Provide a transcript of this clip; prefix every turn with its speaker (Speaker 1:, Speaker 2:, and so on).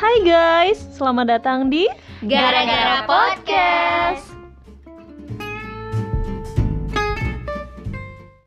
Speaker 1: Hai guys, selamat datang di
Speaker 2: Gara-gara podcast.